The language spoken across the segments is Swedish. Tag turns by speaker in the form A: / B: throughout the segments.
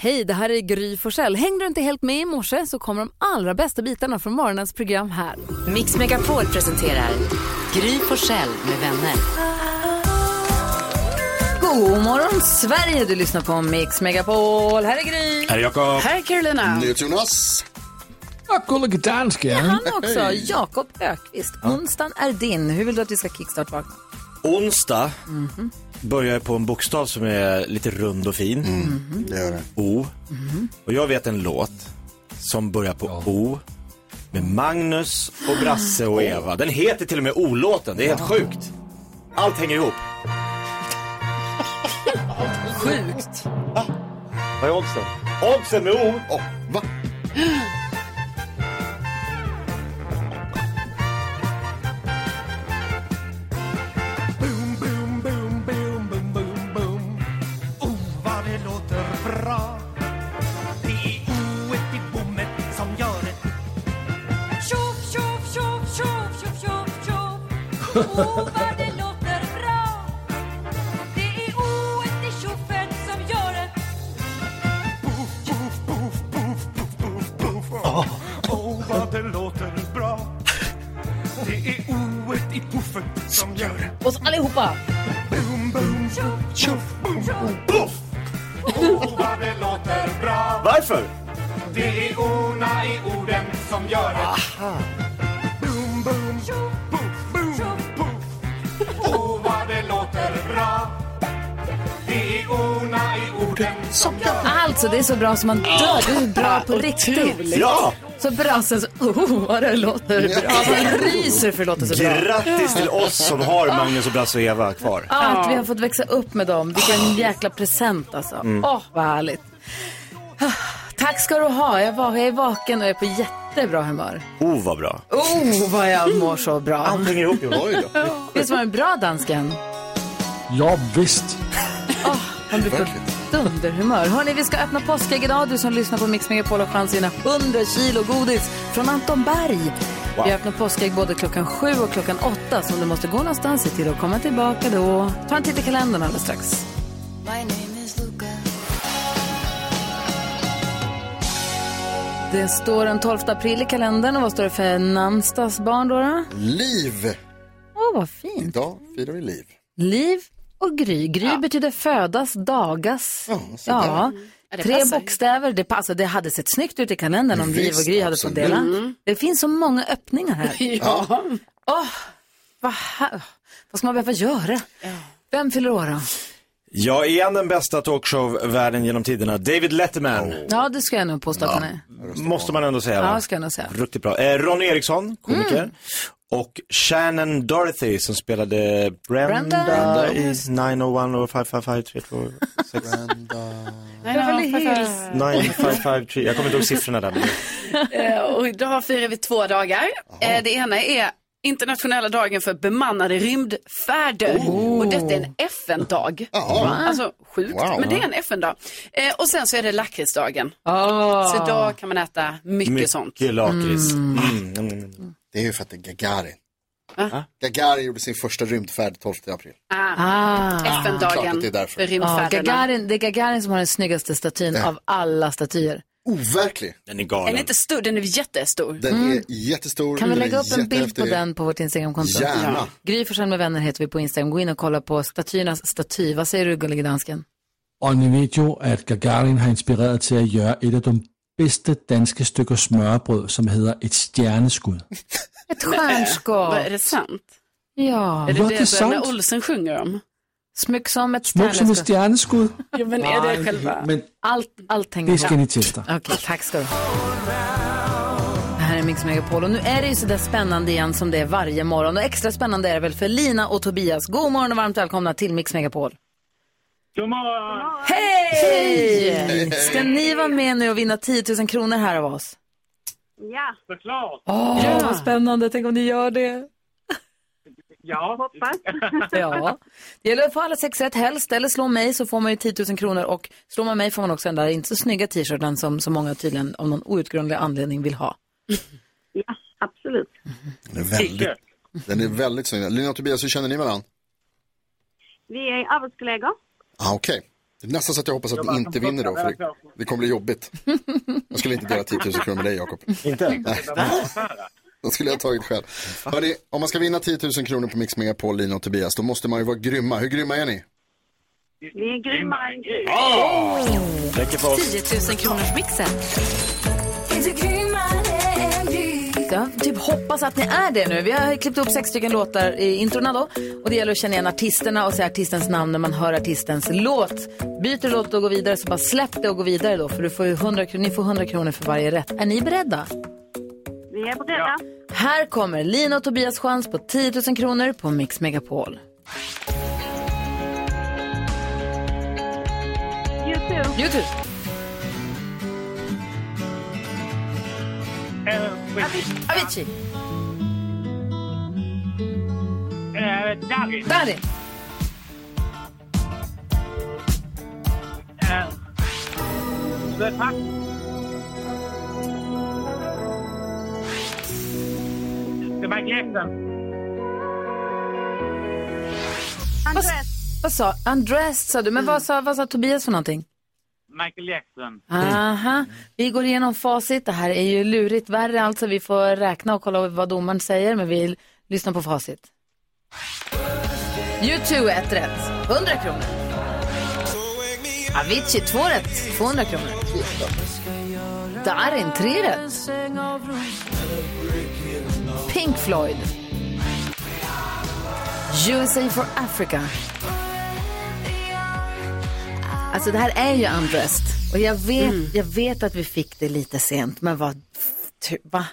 A: Hej, det här är Gry Forssell. Hängde du inte helt med i morse så kommer de allra bästa bitarna från morgonens program här.
B: Mix Megapol presenterar Gry Forssell med vänner.
A: God morgon Sverige, du lyssnar på Mix Megapol. Här är Gry.
C: Här är Jakob.
A: Här är Carolina.
D: Jonas.
C: Jag kollar dansken.
A: Han också, Jakob Ökvist. Onsdagen är din. Hur vill du att vi ska kickstart-vakna?
E: Onsdag börjar på en bokstav som är lite rund och fin.
D: Mm. Det gör det.
E: O. Och jag vet en låt som börjar på O. Med Magnus och Brasse och Eva. Den heter till och med O-låten. Det är helt sjukt. Allt hänger ihop.
A: Sjukt.
E: Vad är oddsen? Oddsen med O.
D: Åh, va?
F: vad det låter bra e, Det är oet i bommet som gör det Tjoff, tjoff, tjoff, tjoff, tjoff, tjoff, tjoff Oh, vad det låter bra Det är oet i tjoffen som gör det Poff, poff, poff, poff, poff, poff, poff Oh, oh vad det låter bra e, Det är oet i puffen som gör det
A: Och så allihopa.
F: Boom, boom, tjoff, tjoff, boom, boom, poff! Oh, vad det låter bra
E: Varför?
F: Det är ona i orden som gör det Boom, boom, tjoff, poff, boom, poff Oh, vad det låter bra Det är ona i orden som gör det
A: Alltså, det är så bra som man dör. Du är bra på riktigt.
E: Ja!
A: Så brassen så, oh vad det låter bra. Man ryser för det låter så bra.
E: Grattis till oss som har Magnus och Brasse och Eva kvar.
A: Att vi har fått växa upp med dem. Vilken jäkla present alltså. Åh, vad härligt. Ah, Tack ska du ha. Jag, var, jag är vaken och är på jättebra humör.
E: O var bra.
A: Oh, vad jag mår så bra.
E: Allt hänger ihop Jonas.
D: Oj då.
A: Visst var den bra, dansken?
C: Ja, visst.
A: Han blir på dunderhumör. Hörni, vi ska öppna påskägg idag. Du som lyssnar på Mix Megapol har chans att vinna 100 kilo godis från Anton Berg. Vi öppnar påskägg både klockan sju och klockan åtta. Så om du måste gå någonstans, se till att komma tillbaka då. Ta en titt i kalendern alldeles strax. Det står den 12 april i kalendern. Och vad står det för namnsdags barn då? då?
D: Liv.
A: Åh, vad fint.
D: Idag firar vi liv.
A: Liv och Gry. Gry betyder födas, dagas.
D: Ja, så
A: Ja. Tre bokstäver, det passar. Det hade sett snyggt ut i kalendern om Liv och
D: Visst,
A: Gry hade fått
D: absolut.
A: dela. Det finns så många öppningar här. ja. vad, här- vad ska man behöva göra? Vem fyller år då?
E: Ja, igen den bästa talkshow-världen genom tiderna. David Letterman.
A: Ja, det ska jag nog påstå att han är.
E: Måste man ändå säga va?
A: Ja, det ska jag nog säga.
E: Riktigt bra. Eh, Ronny Eriksson, komiker. Och Shannon Dorothy som spelade Brenda,
A: Brenda.
E: i 901 555
A: Beverly Hills.
E: 9553. Jag kommer inte ihåg siffrorna där. men-
G: Eh, Och idag firar vi två dagar. Eh, Det ena är internationella dagen för bemannade rymdfärder.
D: Oh.
G: Och detta är en FN-dag. Alltså sjukt,
D: Wow.
G: men det är en FN-dag. Eh, Och sen så är det lakritsdagen.
A: Oh.
G: Så idag kan man äta mycket, sånt.
E: Mycket lakrits. Mm. mm, mm.
D: Det är ju för att det är Gagarin.
G: Va?
D: Gagarin gjorde sin första rymdfärd 12 april.
G: Ah,
A: Ah.
D: klart att
G: FN-dagen
D: det är därför.
G: för
A: Ja,
G: rymdfärderna.
A: Gagarin, det är Gagarin som har den snyggaste statyn av alla statyer.
D: Overklig.
E: Den är
G: Den
E: galen.
G: är inte stor, den är jättestor.
D: Oh, Den är jättestor.
A: Mm. Kan vi
D: den är
A: lägga upp en bild på
D: Mm, jättehäftig.
A: den på vårt Instagramkonto?
D: Gärna.
A: Gry Forssell med vänner heter vi på Instagram. Gå in och kolla på statyernas staty. Vad säger du, gullige dansken?
C: Och ni vet ju att Gagarin har inspirerat till att göra ett av de bästa danska stycken smörbröd som heter ett stjärneskudd.
A: Ett
G: Vad Är
A: stjärnskott.
G: det sant?
A: Ja.
C: Vad
G: Är det
C: är
G: det Bröderna
C: sant?
G: Olsen sjunger om?
A: Smyck som ett
C: Smuk som ett
A: stjärnskott.
C: stjärneskudd.
G: Jo, men är det själva?
C: Men
A: Allt, allt hänger
C: det ska
A: ihop.
C: ni testa.
A: Okej, tack ska du ha. Det här är Mix Megapol och nu är det ju sådär spännande igen som det är varje morgon. Och extra spännande är det väl för Lina och Tobias. God morgon och varmt välkomna till Mix Megapol.
H: God morgon!
A: Hej! Ska ni vara med nu och vinna 10 000 kronor här av oss?
H: Ja. Såklart!
A: Åh, vad spännande. Tänk om ni gör det.
H: Ja. Hoppas.
A: Ja, det gäller att få alla sex rätt helst, eller slå mig så får man ju 10 000 kronor och slår man mig får man också den där inte så snygga t-shirten som så många tydligen av någon outgrundlig anledning vill ha.
H: Ja, absolut.
D: Den är väldigt, den är väldigt snygg. Lina och Tobias, hur känner ni varandra?
H: Vi är arbetskollegor.
D: Ah, Okej. Det är nästan så att jag hoppas att ni inte vinner då, för det, det kommer bli jobbigt. Jag skulle inte dela 10 000 kronor med dig, Jakob.
E: Inte?
D: Nej. Det skulle jag ha tagit själv. Hörrni, om man ska vinna 10 000 kronor på Mix Megapol, Lina och Tobias, då måste man ju vara grymma. Hur grymma är ni?
H: Ni är grymma.
E: Räcker för oss.
B: 10 000 kronors mixen.
A: Jag typ hoppas att ni är det nu. Vi har klippt upp sex stycken låtar i introna då. Och det gäller att känna igen artisterna och säga artistens namn när man hör artistens låt. Byter låt och går vidare så bara släpp det och gå vidare då. För du får ju 100 kronor, ni får 100 kronor för varje rätt. Är ni beredda?
H: Vi är beredda.
A: Här kommer Lina och Tobias chans på 10 000 kronor på Mix Megapol.
H: Youtube.
A: Youtube. Avicii.
F: Eh, Darin.
A: Darin.
F: Eh, Det var Gläfsen.
H: Andres.
A: Vad sa Andress sa du,
F: Mm.
A: men vad sa, vad sa Tobias för någonting?
F: Michael Jackson.
A: Aha. Vi går igenom facit. Det här är ju lurigt värre alltså. Vi får räkna och kolla vad domaren säger, men vi lyssnar på facit. U2 ett rätt, 100 kronor. Avicii två rätt, 200 kronor. Darin tre rätt. Pink Floyd. USA for Africa. Alltså det här är ju Undressed. Och jag vet,
D: Mm.
A: jag vet att vi fick det lite sent, men vad... ty- Va?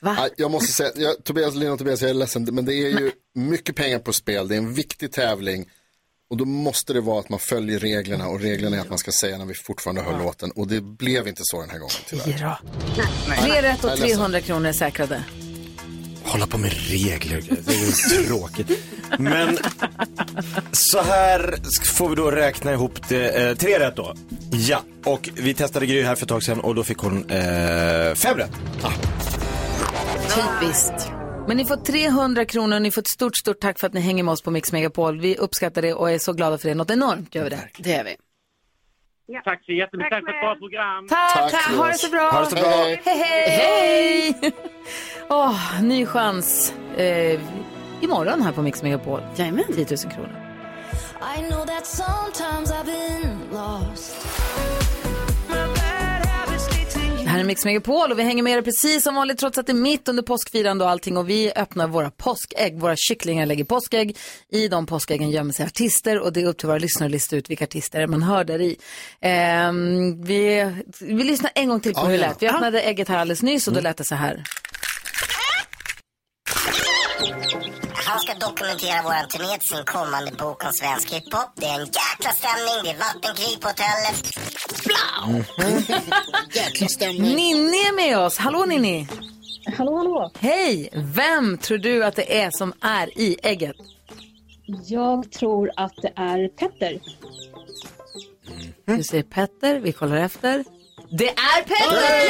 A: Va?
D: Nej, Jag måste säga, jag, Tobias, Lina och Tobias, jag är ledsen, men det är ju mycket pengar på spel. Det är en viktig tävling. Och då måste det vara att man följer reglerna och reglerna är att man ska säga när vi fortfarande hör låten. Och det blev inte så den här gången tyvärr.
A: Fyra. Tre rätt och
D: Jag är ledsen.
A: 300 kronor är säkrade.
E: Hålla på med regler, det är ju tråkigt. Men så här sk- får vi då räkna ihop det, eh, tre rätt då. Ja, och vi testade Gry här för ett tag sedan och då fick hon eh, fem rätt.
A: Typiskt. Men ni får 300 kronor och ni får ett stort, stort tack för att ni hänger med oss på Mix Megapol. Vi uppskattar det och är så glada för det. Något enormt gör vi det.
G: Det är vi.
F: Tack så jättemycket.
H: Tack
F: Tack för ett
H: själv.
F: bra program.
A: Tack,
D: Tack,
A: tack. Ha det
D: Jonas.
A: så bra.
E: Ha det så bra.
A: Hej, hej. Hej. Åh, ny chans eh, imorgon här på Mix Megapol.
G: Jajamän.
A: 10 000 kronor.
I: I know that sometimes I've been lost.
A: Det här är Mix Megapol och vi hänger med er precis som vanligt trots att det är mitt under påskfirande och allting. Och vi öppnar våra påskägg. Våra kycklingar lägger påskägg. I de påskäggen gömmer sig artister och det är upp till våra lyssnare att lista ut vilka artister det är man hör där i. Ehm, vi, vi lyssnar en gång till på
D: Ja,
A: hur det
D: ja. Mm.
A: lät. Vi öppnade ägget här alldeles nyss och då lät det så här.
J: Han ska dokumentera våran turné till sin kommande bok om svensk hiphop. Det är en jäkla stämning, det är vattenkrig på hotellet.
D: Jäkla stämning.
A: Ninni är med oss. Hallå Ninni!
H: Hallå, hallå.
A: Hej! Vem tror du att det är som är i ägget?
H: Jag tror att det är Petter.
D: Mm.
A: Du säger Petter, vi kollar efter. Det är Petter!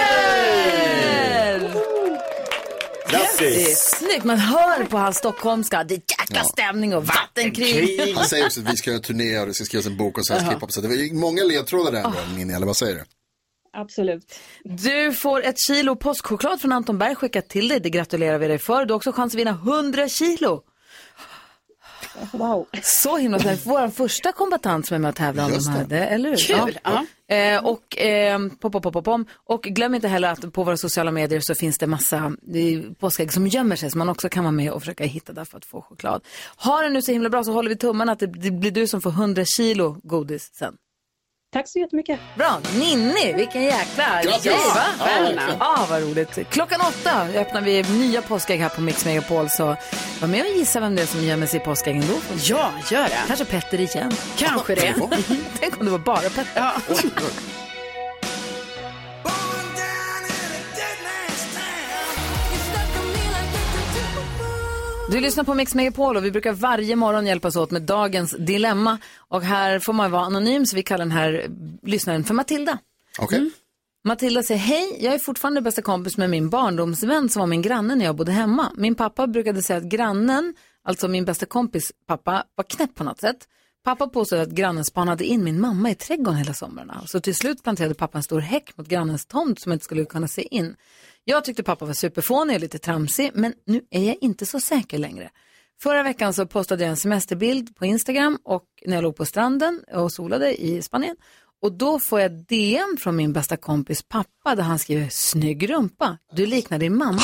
E: Grattis!
A: Snyggt, man hör på hans stockholmska. Det är jäkla stämning och vattenkrig.
D: Han säger också att vi ska göra en turné och det ska skrivas en bok om svensk hiphop. Så det var många ledtrådar där ändå,
A: Ah.
D: Ninni, eller vad säger du?
H: Absolut.
A: Du får ett kilo påskchoklad från Anton Berg skickat till dig. Det gratulerar vi dig för. Du har också chans att vinna 100 kilo.
H: Wow.
A: Så himla snällt. Vår första kombatant som är med och tävlar om de
D: Just
A: här, det. eller hur?
G: Kul, ja.
A: Eh, och, eh, pop, pop, pop, pop, om. och glöm inte heller att på våra sociala medier så finns det massa eh, påskägg som gömmer sig som man också kan vara med och försöka hitta där för att få choklad. Ha det nu så himla bra så håller vi tummarna att det, det blir du som får 100 kilo godis sen.
H: Tack så jättemycket.
A: Bra, Ninni, vilken jäkla
D: Grattis!
A: grej, va?
D: Ja,
A: Ja, ah, vad roligt. Klockan åtta öppnar vi nya påskägg här på Mix Megapol så var med och gissa vem det är som gömmer sig i påskäggen då.
G: Ja, gör det.
A: Kanske Petter igen.
G: Kanske det.
A: Tänk om det var bara Petter.
G: Ja.
A: Du lyssnar på Mix Megapol och vi brukar varje morgon hjälpas åt med dagens dilemma. Och här får man vara anonym så vi kallar den här lyssnaren för Matilda.
D: Okej.
A: Mm. Matilda säger, hej, jag är fortfarande bästa kompis med min barndomsvän som var min granne när jag bodde hemma. Min pappa brukade säga att grannen, alltså min bästa kompis pappa, var knäpp på något sätt. Pappa påstod att grannen spanade in min mamma i trädgården hela somrarna. Så till slut planterade pappa en stor häck mot grannens tomt som jag inte skulle kunna se in. Jag tyckte pappa var superfånig och lite tramsig, men nu är jag inte så säker längre. Förra veckan så postade jag en semesterbild på Instagram och när jag låg på stranden och solade i Spanien. Och då får jag DM från min bästa kompis pappa där han skriver “Snygg rumpa, du liknar din mamma,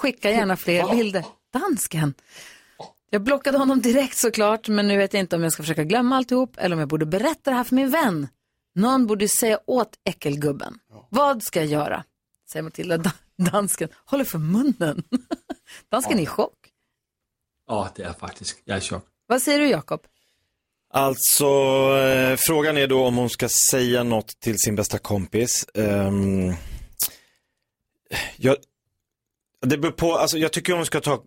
A: skicka gärna fler bilder, dansken”. Jag blockade honom direkt såklart, men nu vet jag inte om jag ska försöka glömma alltihop eller om jag borde berätta det här för min vän. Någon borde säga åt äckelgubben. Vad ska jag göra? Säger Matilda, da- dansken håller för munnen. dansken är i chock.
C: Åh, det är faktiskt, jag är i chock.
A: Vad säger du Jakob?
E: Alltså, eh, frågan är då om hon ska säga något till sin bästa kompis. Ehm, jag, det beror på, alltså, jag tycker hon ska ta,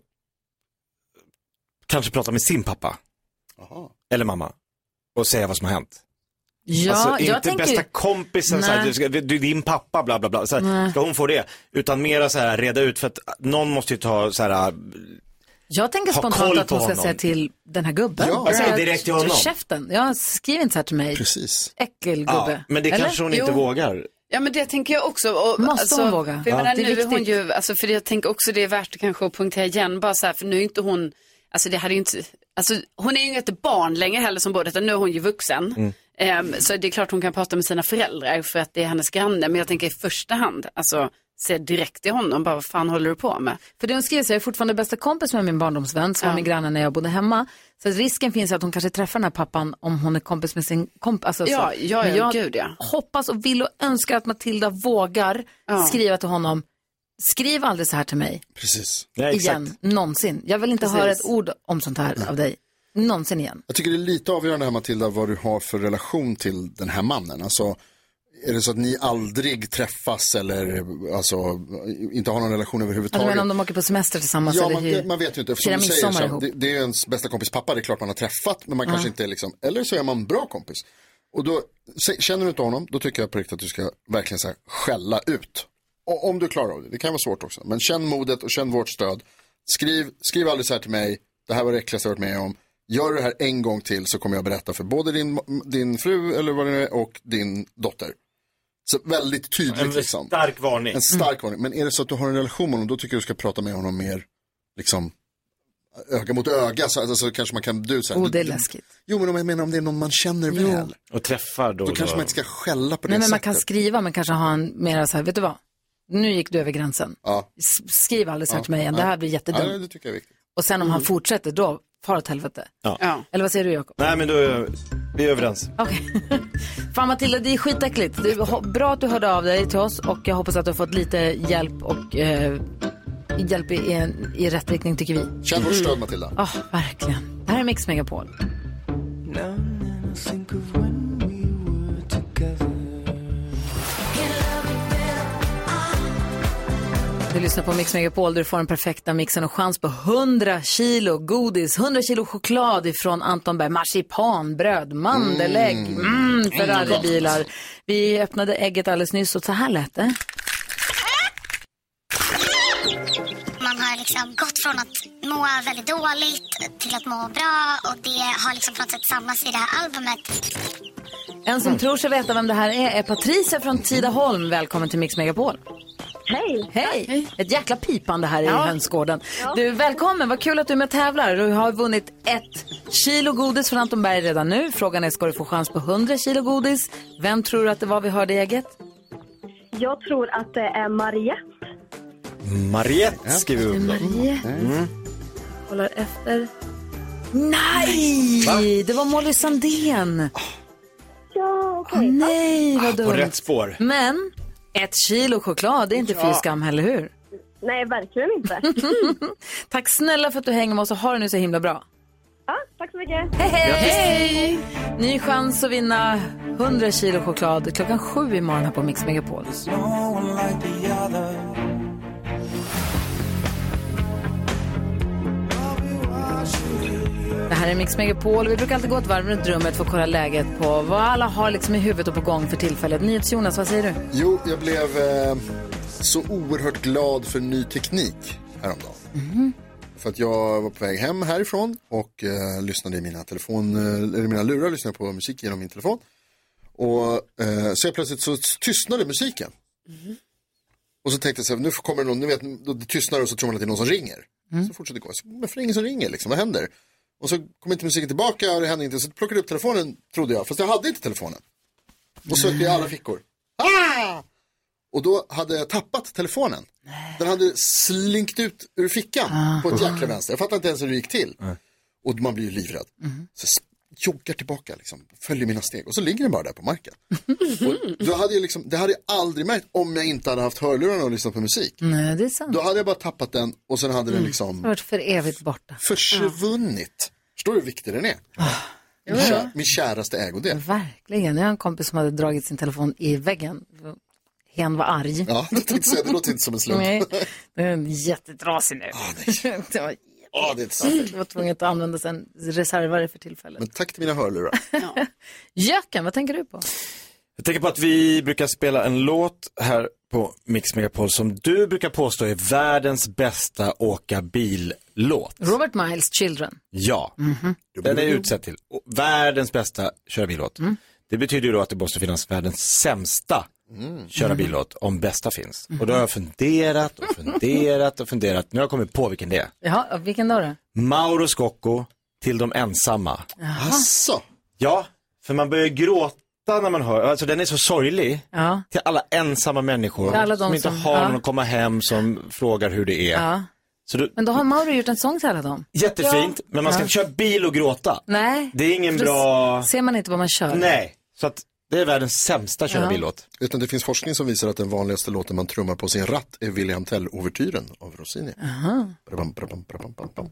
E: kanske prata med sin pappa. Eller mamma. Och säga vad som har hänt.
A: Ja,
E: alltså inte
A: jag tänker-
E: bästa kompisen, så här,
A: Nej.
E: du, ska, du är din pappa, bla bla bla. Så här,
A: Nej.
E: ska hon få det? Utan mera så här reda ut, för att någon måste ju ta så här, ah,
A: Jag tänker
E: Ha
A: spontant
E: koll
A: att hon
E: på
A: ska
E: honom.
A: säga till den här gubben. Alltså,
E: Ja, jag säger direkt till honom.
A: Käften, jag skriver inte så här till mig.
D: Precis.
A: Äckelgubbe.
E: men det
A: Eller?
E: kanske hon inte
G: Jo.
E: vågar.
G: Ja men det tänker jag också. Och,
A: Måste
G: alltså,
A: hon våga?
G: För jag
E: Ja.
G: menar,
E: Det är
G: nu är hon
A: viktigt.
G: ju, alltså, för jag tänker också det är värt kanske att poängtera igen bara så här, för nu är inte hon, alltså det hade ju inte, alltså hon är ju inte barn längre heller som bor utan nu är hon ju vuxen.
E: Mm.
G: Ehm, så det är klart hon kan prata med sina föräldrar för att det är hennes granne, men jag tänker i första hand, alltså se direkt till honom, bara vad fan håller du på med?
A: För det hon skriver så är jag är fortfarande bästa kompis med min barndomsvän som var min granne när jag bodde hemma. Så att risken finns att hon kanske träffar den här pappan om hon är kompis med sin kompis. Alltså,
G: Ja,
A: så.
G: ja,
A: Men
G: ja,
A: jag
G: gud, ja.
A: hoppas och vill och önskar att Matilda vågar
G: Ja.
A: skriva till honom. Skriv aldrig så här till mig
D: Precis.
A: igen, någonsin. Jag vill inte
G: Precis.
A: höra ett ord om sånt här av dig, någonsin igen.
D: Jag tycker det är lite avgörande här Matilda vad du har för relation till den här mannen. Alltså, är det så att ni aldrig träffas eller alltså, inte har någon relation
A: Ja, du
D: överhuvudtaget?
A: menar om Alltså, de åker på semester tillsammans
D: Ja,
A: eller
D: man,
A: hur?
D: man vet ju inte. Eftersom
A: Firar
D: du säger
A: midsommar
D: så,
A: ihop.
D: det, det är ju ens bästa kompis pappa, det är klart man har träffat, men man
A: Ja.
D: kanske inte är liksom, eller så är man bra kompis. Och då, se- känner du inte honom, då tycker jag på riktigt att du ska verkligen så här, skälla ut. Och, om du klarar av det, det kan vara svårt också. Men känn modet och känn vårt stöd. Skriv, skriv aldrig så här till mig, det här var det äckligaste jag varit med om. Gör du det här en gång till så kommer jag berätta för både din, din fru eller vad det nu är och din dotter. Så väldigt tydligt
E: En
D: liksom.
E: stark varning.
D: En stark varning. Men är det så att du har en relation med honom, då tycker jag du ska prata med honom mer, liksom, öga mot öga. Så, alltså, så kanske man kan, du så här,
A: Oh,
D: du-
A: det är
D: du-
A: läskigt.
D: Jo, men om jag menar om det är någon man känner väl.
E: Och träffar då.
D: Då kanske man inte ska skälla på det
A: Nej, men man
D: sättet.
A: kan skriva, men kanske ha en mera så här, vet du vad? Nu gick du över gränsen.
D: Ja.
A: S- Skriv aldrig så här
D: Ja.
A: till mig igen, det här blir jättedumt.
D: Ja, det Mm. tycker jag är viktigt.
A: Och sen om han fortsätter, då far åt helvete.
E: Ja.
A: Eller vad säger du Jakob?
E: Nej men då, är vi är överens.
A: Okej. Fan Matilda, det är skitäckligt. Det är ho- bra att du hörde av dig till oss och jag hoppas att du har fått lite hjälp och eh, hjälp i, en, i rätt riktning tycker vi.
D: Känn vårt stöd, Matilda.
A: Ja, verkligen. Det här är Mix Megapol. Du lyssnar på Mix Megapol där du får den perfekta mixen och chans på 100 kilo godis, 100 kilo choklad ifrån Anton Berg, marsipanbröd, mandelägg, mm, Ferraribilar. Vi öppnade ägget alldeles nyss och så här lät det.
I: Man har liksom gått från att må väldigt dåligt till att må bra och det har liksom på något sätt samlats i det här albumet.
A: En som tror sig veta vem det här är är Patricia från Tidaholm. Välkommen till Mix Megapol.
K: Hej!
A: Hej! Ett jäkla pipande här i
K: Ja.
A: hönsgården. Du, välkommen, vad kul att du är med och tävlar. Du har vunnit ett kilo godis från Anton Berg redan nu. Frågan är, ska du få chans på 100 kilo godis? Vem tror du att det var vi hörde i ägget?
K: Jag tror att det är Mariette.
E: Mariette skriver vi upp då.
A: Mariette.
E: Mm.
A: Kollar efter. Nej! Det var Molly Sandén.
K: Ja,
A: Åh, Ah, nej, vad dumt.
E: På rätt spår.
A: Men ett kilo choklad, det är inte
K: Ja.
A: fy skam, heller hur?
K: Nej, verkligen inte.
A: Tack snälla för att du hänger med oss och har det nu så himla bra.
K: ja, tack så mycket.
A: Hej, hej! Ny chans att vinna 100 kilo choklad klockan sju imorgon här på Mix Megapol. Det här är Mix Megapol. Vi brukar alltid gå ett varv runt rummet för att kolla läget på vad alla har liksom i huvudet och på gång för tillfället. NyhetsJonas, vad säger du?
D: Jo, jag blev eh, så oerhört glad för ny teknik häromdagen. för att jag var på väg hem härifrån och eh, lyssnade i mina, telefon, eh, eller mina lurar lyssnade på musik genom min telefon. Och eh, så jag plötsligt så tystnade musiken. Och så tänkte jag så här, nu kommer det någon, nu vet, då det tystnar och så tror man att det är någon som ringer. Så fortsätter det gå, så, varför är det ingen som ringer liksom, vad händer? Och så kom inte musiken tillbaka och det hände inte, så plockade jag upp telefonen trodde jag, fast jag hade inte telefonen. Och sökte i alla fickor. Ah! Och då hade jag tappat telefonen. Den hade slinkt ut ur fickan på ett jäkla vänster. Jag fattar inte ens hur det gick till. Och man blir ju livrädd. Så s- joggar tillbaka liksom, följer mina steg och så ligger den bara där på marken. och då hade jag liksom, det hade jag aldrig märkt om jag inte hade haft hörlurarna och lyssnat på musik.
A: Nej, det är sant.
D: Då hade jag bara tappat den och sen hade den
A: Det
D: liksom
A: har varit för evigt borta.
D: försvunnit. Förstår du hur viktig den är? Min, kär, min käraste ägodel.
A: Verkligen. Jag har en kompis som hade dragit sin telefon i väggen. Hen var arg.
D: Ja, det tänkte säga, det låter inte som en slump.
A: Nej, den är jättetrasig nu. det var
D: Ja, Ah, det är ett sant.
A: Jag var tvungen att använda en reservare för tillfället.
D: Men tack till mina hörlurar.
A: Jöken, vad tänker du på?
E: Jag tänker på att vi brukar spela en låt här på Mix Megapol som du brukar påstå är världens bästa åka bil-låt.
A: Robert Miles, Children.
E: Ja,
D: Mhm.
E: den är
D: Mm.
E: utsedd till och världens bästa köra bil-låt. Det betyder ju då att det måste finnas världens sämsta
D: Mm.
E: köra bil-låt om bästa finns. Och då har jag funderat och funderat och funderat. Nu har jag kommit på vilken det är.
A: Jaha, vilken då? då?
E: Mauro Scocco till de ensamma.
A: Jaha.
D: Asså.
E: Ja, för man börjar gråta när man hör, alltså den är så sorglig.
A: Ja.
E: Till alla ensamma människor
A: Till alla de
E: som inte
A: som-
E: har
A: ja.
E: någon att komma hem som frågar hur det är.
A: Ja.
E: Så du,
A: Men då har Mauro gjort en sång till alla dem.
E: jättefint, men man
A: Ja.
E: ska
A: Mm.
E: inte köra bil och gråta.
A: Nej.
E: Det är ingen
A: För då
E: bra-
A: Ser man inte vad man kör?
E: Nej, så att det är världens sämsta köra
A: Ja.
E: bil-låt.
D: Utan det finns forskning som visar att den vanligaste låten man trummar på sin ratt är William Tell-ouvertyren av Rossini.
A: Aha.
D: Brabam, brabam, brabam, brabam.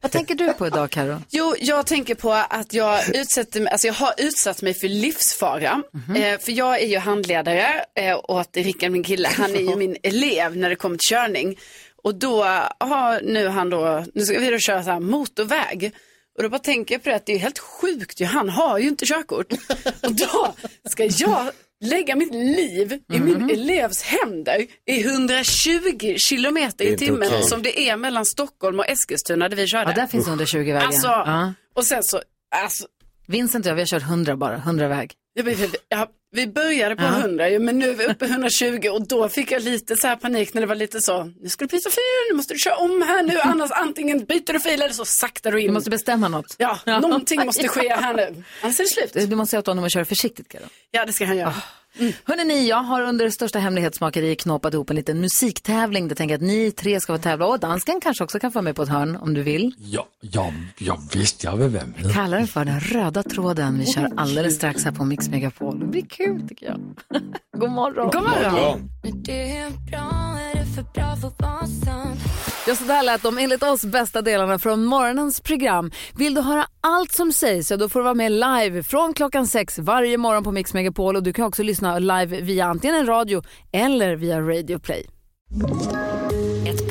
A: Vad tänker du på idag, Karo?
G: Jo, jag tänker på att jag, utsätter, mig- alltså jag har utsatt mig för livsfara.
A: Mhm.
G: Eh, för jag är ju handledare eh, åt Rickard, min kille. Han är ju min elev när det kommer till körning. Och då har nu han då, nu ska vi då köra så här motorväg. Och då bara tänker jag på det att det är helt sjukt ju, han har ju inte körkort. Och då ska jag lägga mitt liv i
A: Mhm.
G: min elevs händer i 120 kilometer
A: Det är
G: i
A: inte
G: timmen
A: okej.
G: som det är mellan Stockholm och Eskilstuna där vi körde.
A: Ja, där finns 120-vägen.
G: Alltså,
A: Ja.
G: och sen så, alltså,
A: Vincent och jag, vi har kört 100 bara, 100-väg.
G: jag, vet inte, ja, vi började på 100 ju, men nu är vi uppe i 120 och då fick jag lite så här panik när det var lite så, nu ska du byta fil, nu måste du köra om här nu, annars antingen byter du fil eller så saktar du in.
A: Du måste bestämma något.
G: Ja, någonting måste ske här nu. Annars är det Ah. slut.
A: Du måste säga åt honom att köra försiktigt, Karo.
G: Ja, det ska han göra.
A: Hörrni, ni, jag har under största hemlighetsmakeri knåpat ihop en liten musiktävling. Där jag tänker att ni tre ska få tävla och dansken kanske också kan få med på ett hörn om du vill.
C: Ja, ja, ja visst, jag vill vara med.
A: Kallar den för den röda tråden. Vi kör alldeles strax här på Mix Megapol. Det blir kul tycker jag. God morgon.
F: God morgon.
A: Ja, så där lät de enligt oss bästa delarna från morgonens program. Vill du höra allt som sägs, ja, då får du vara med live från klockan sex varje morgon på Mix Megapol. Och du kan också lyssna live via antingen en radio eller via Radio Play.
B: Ett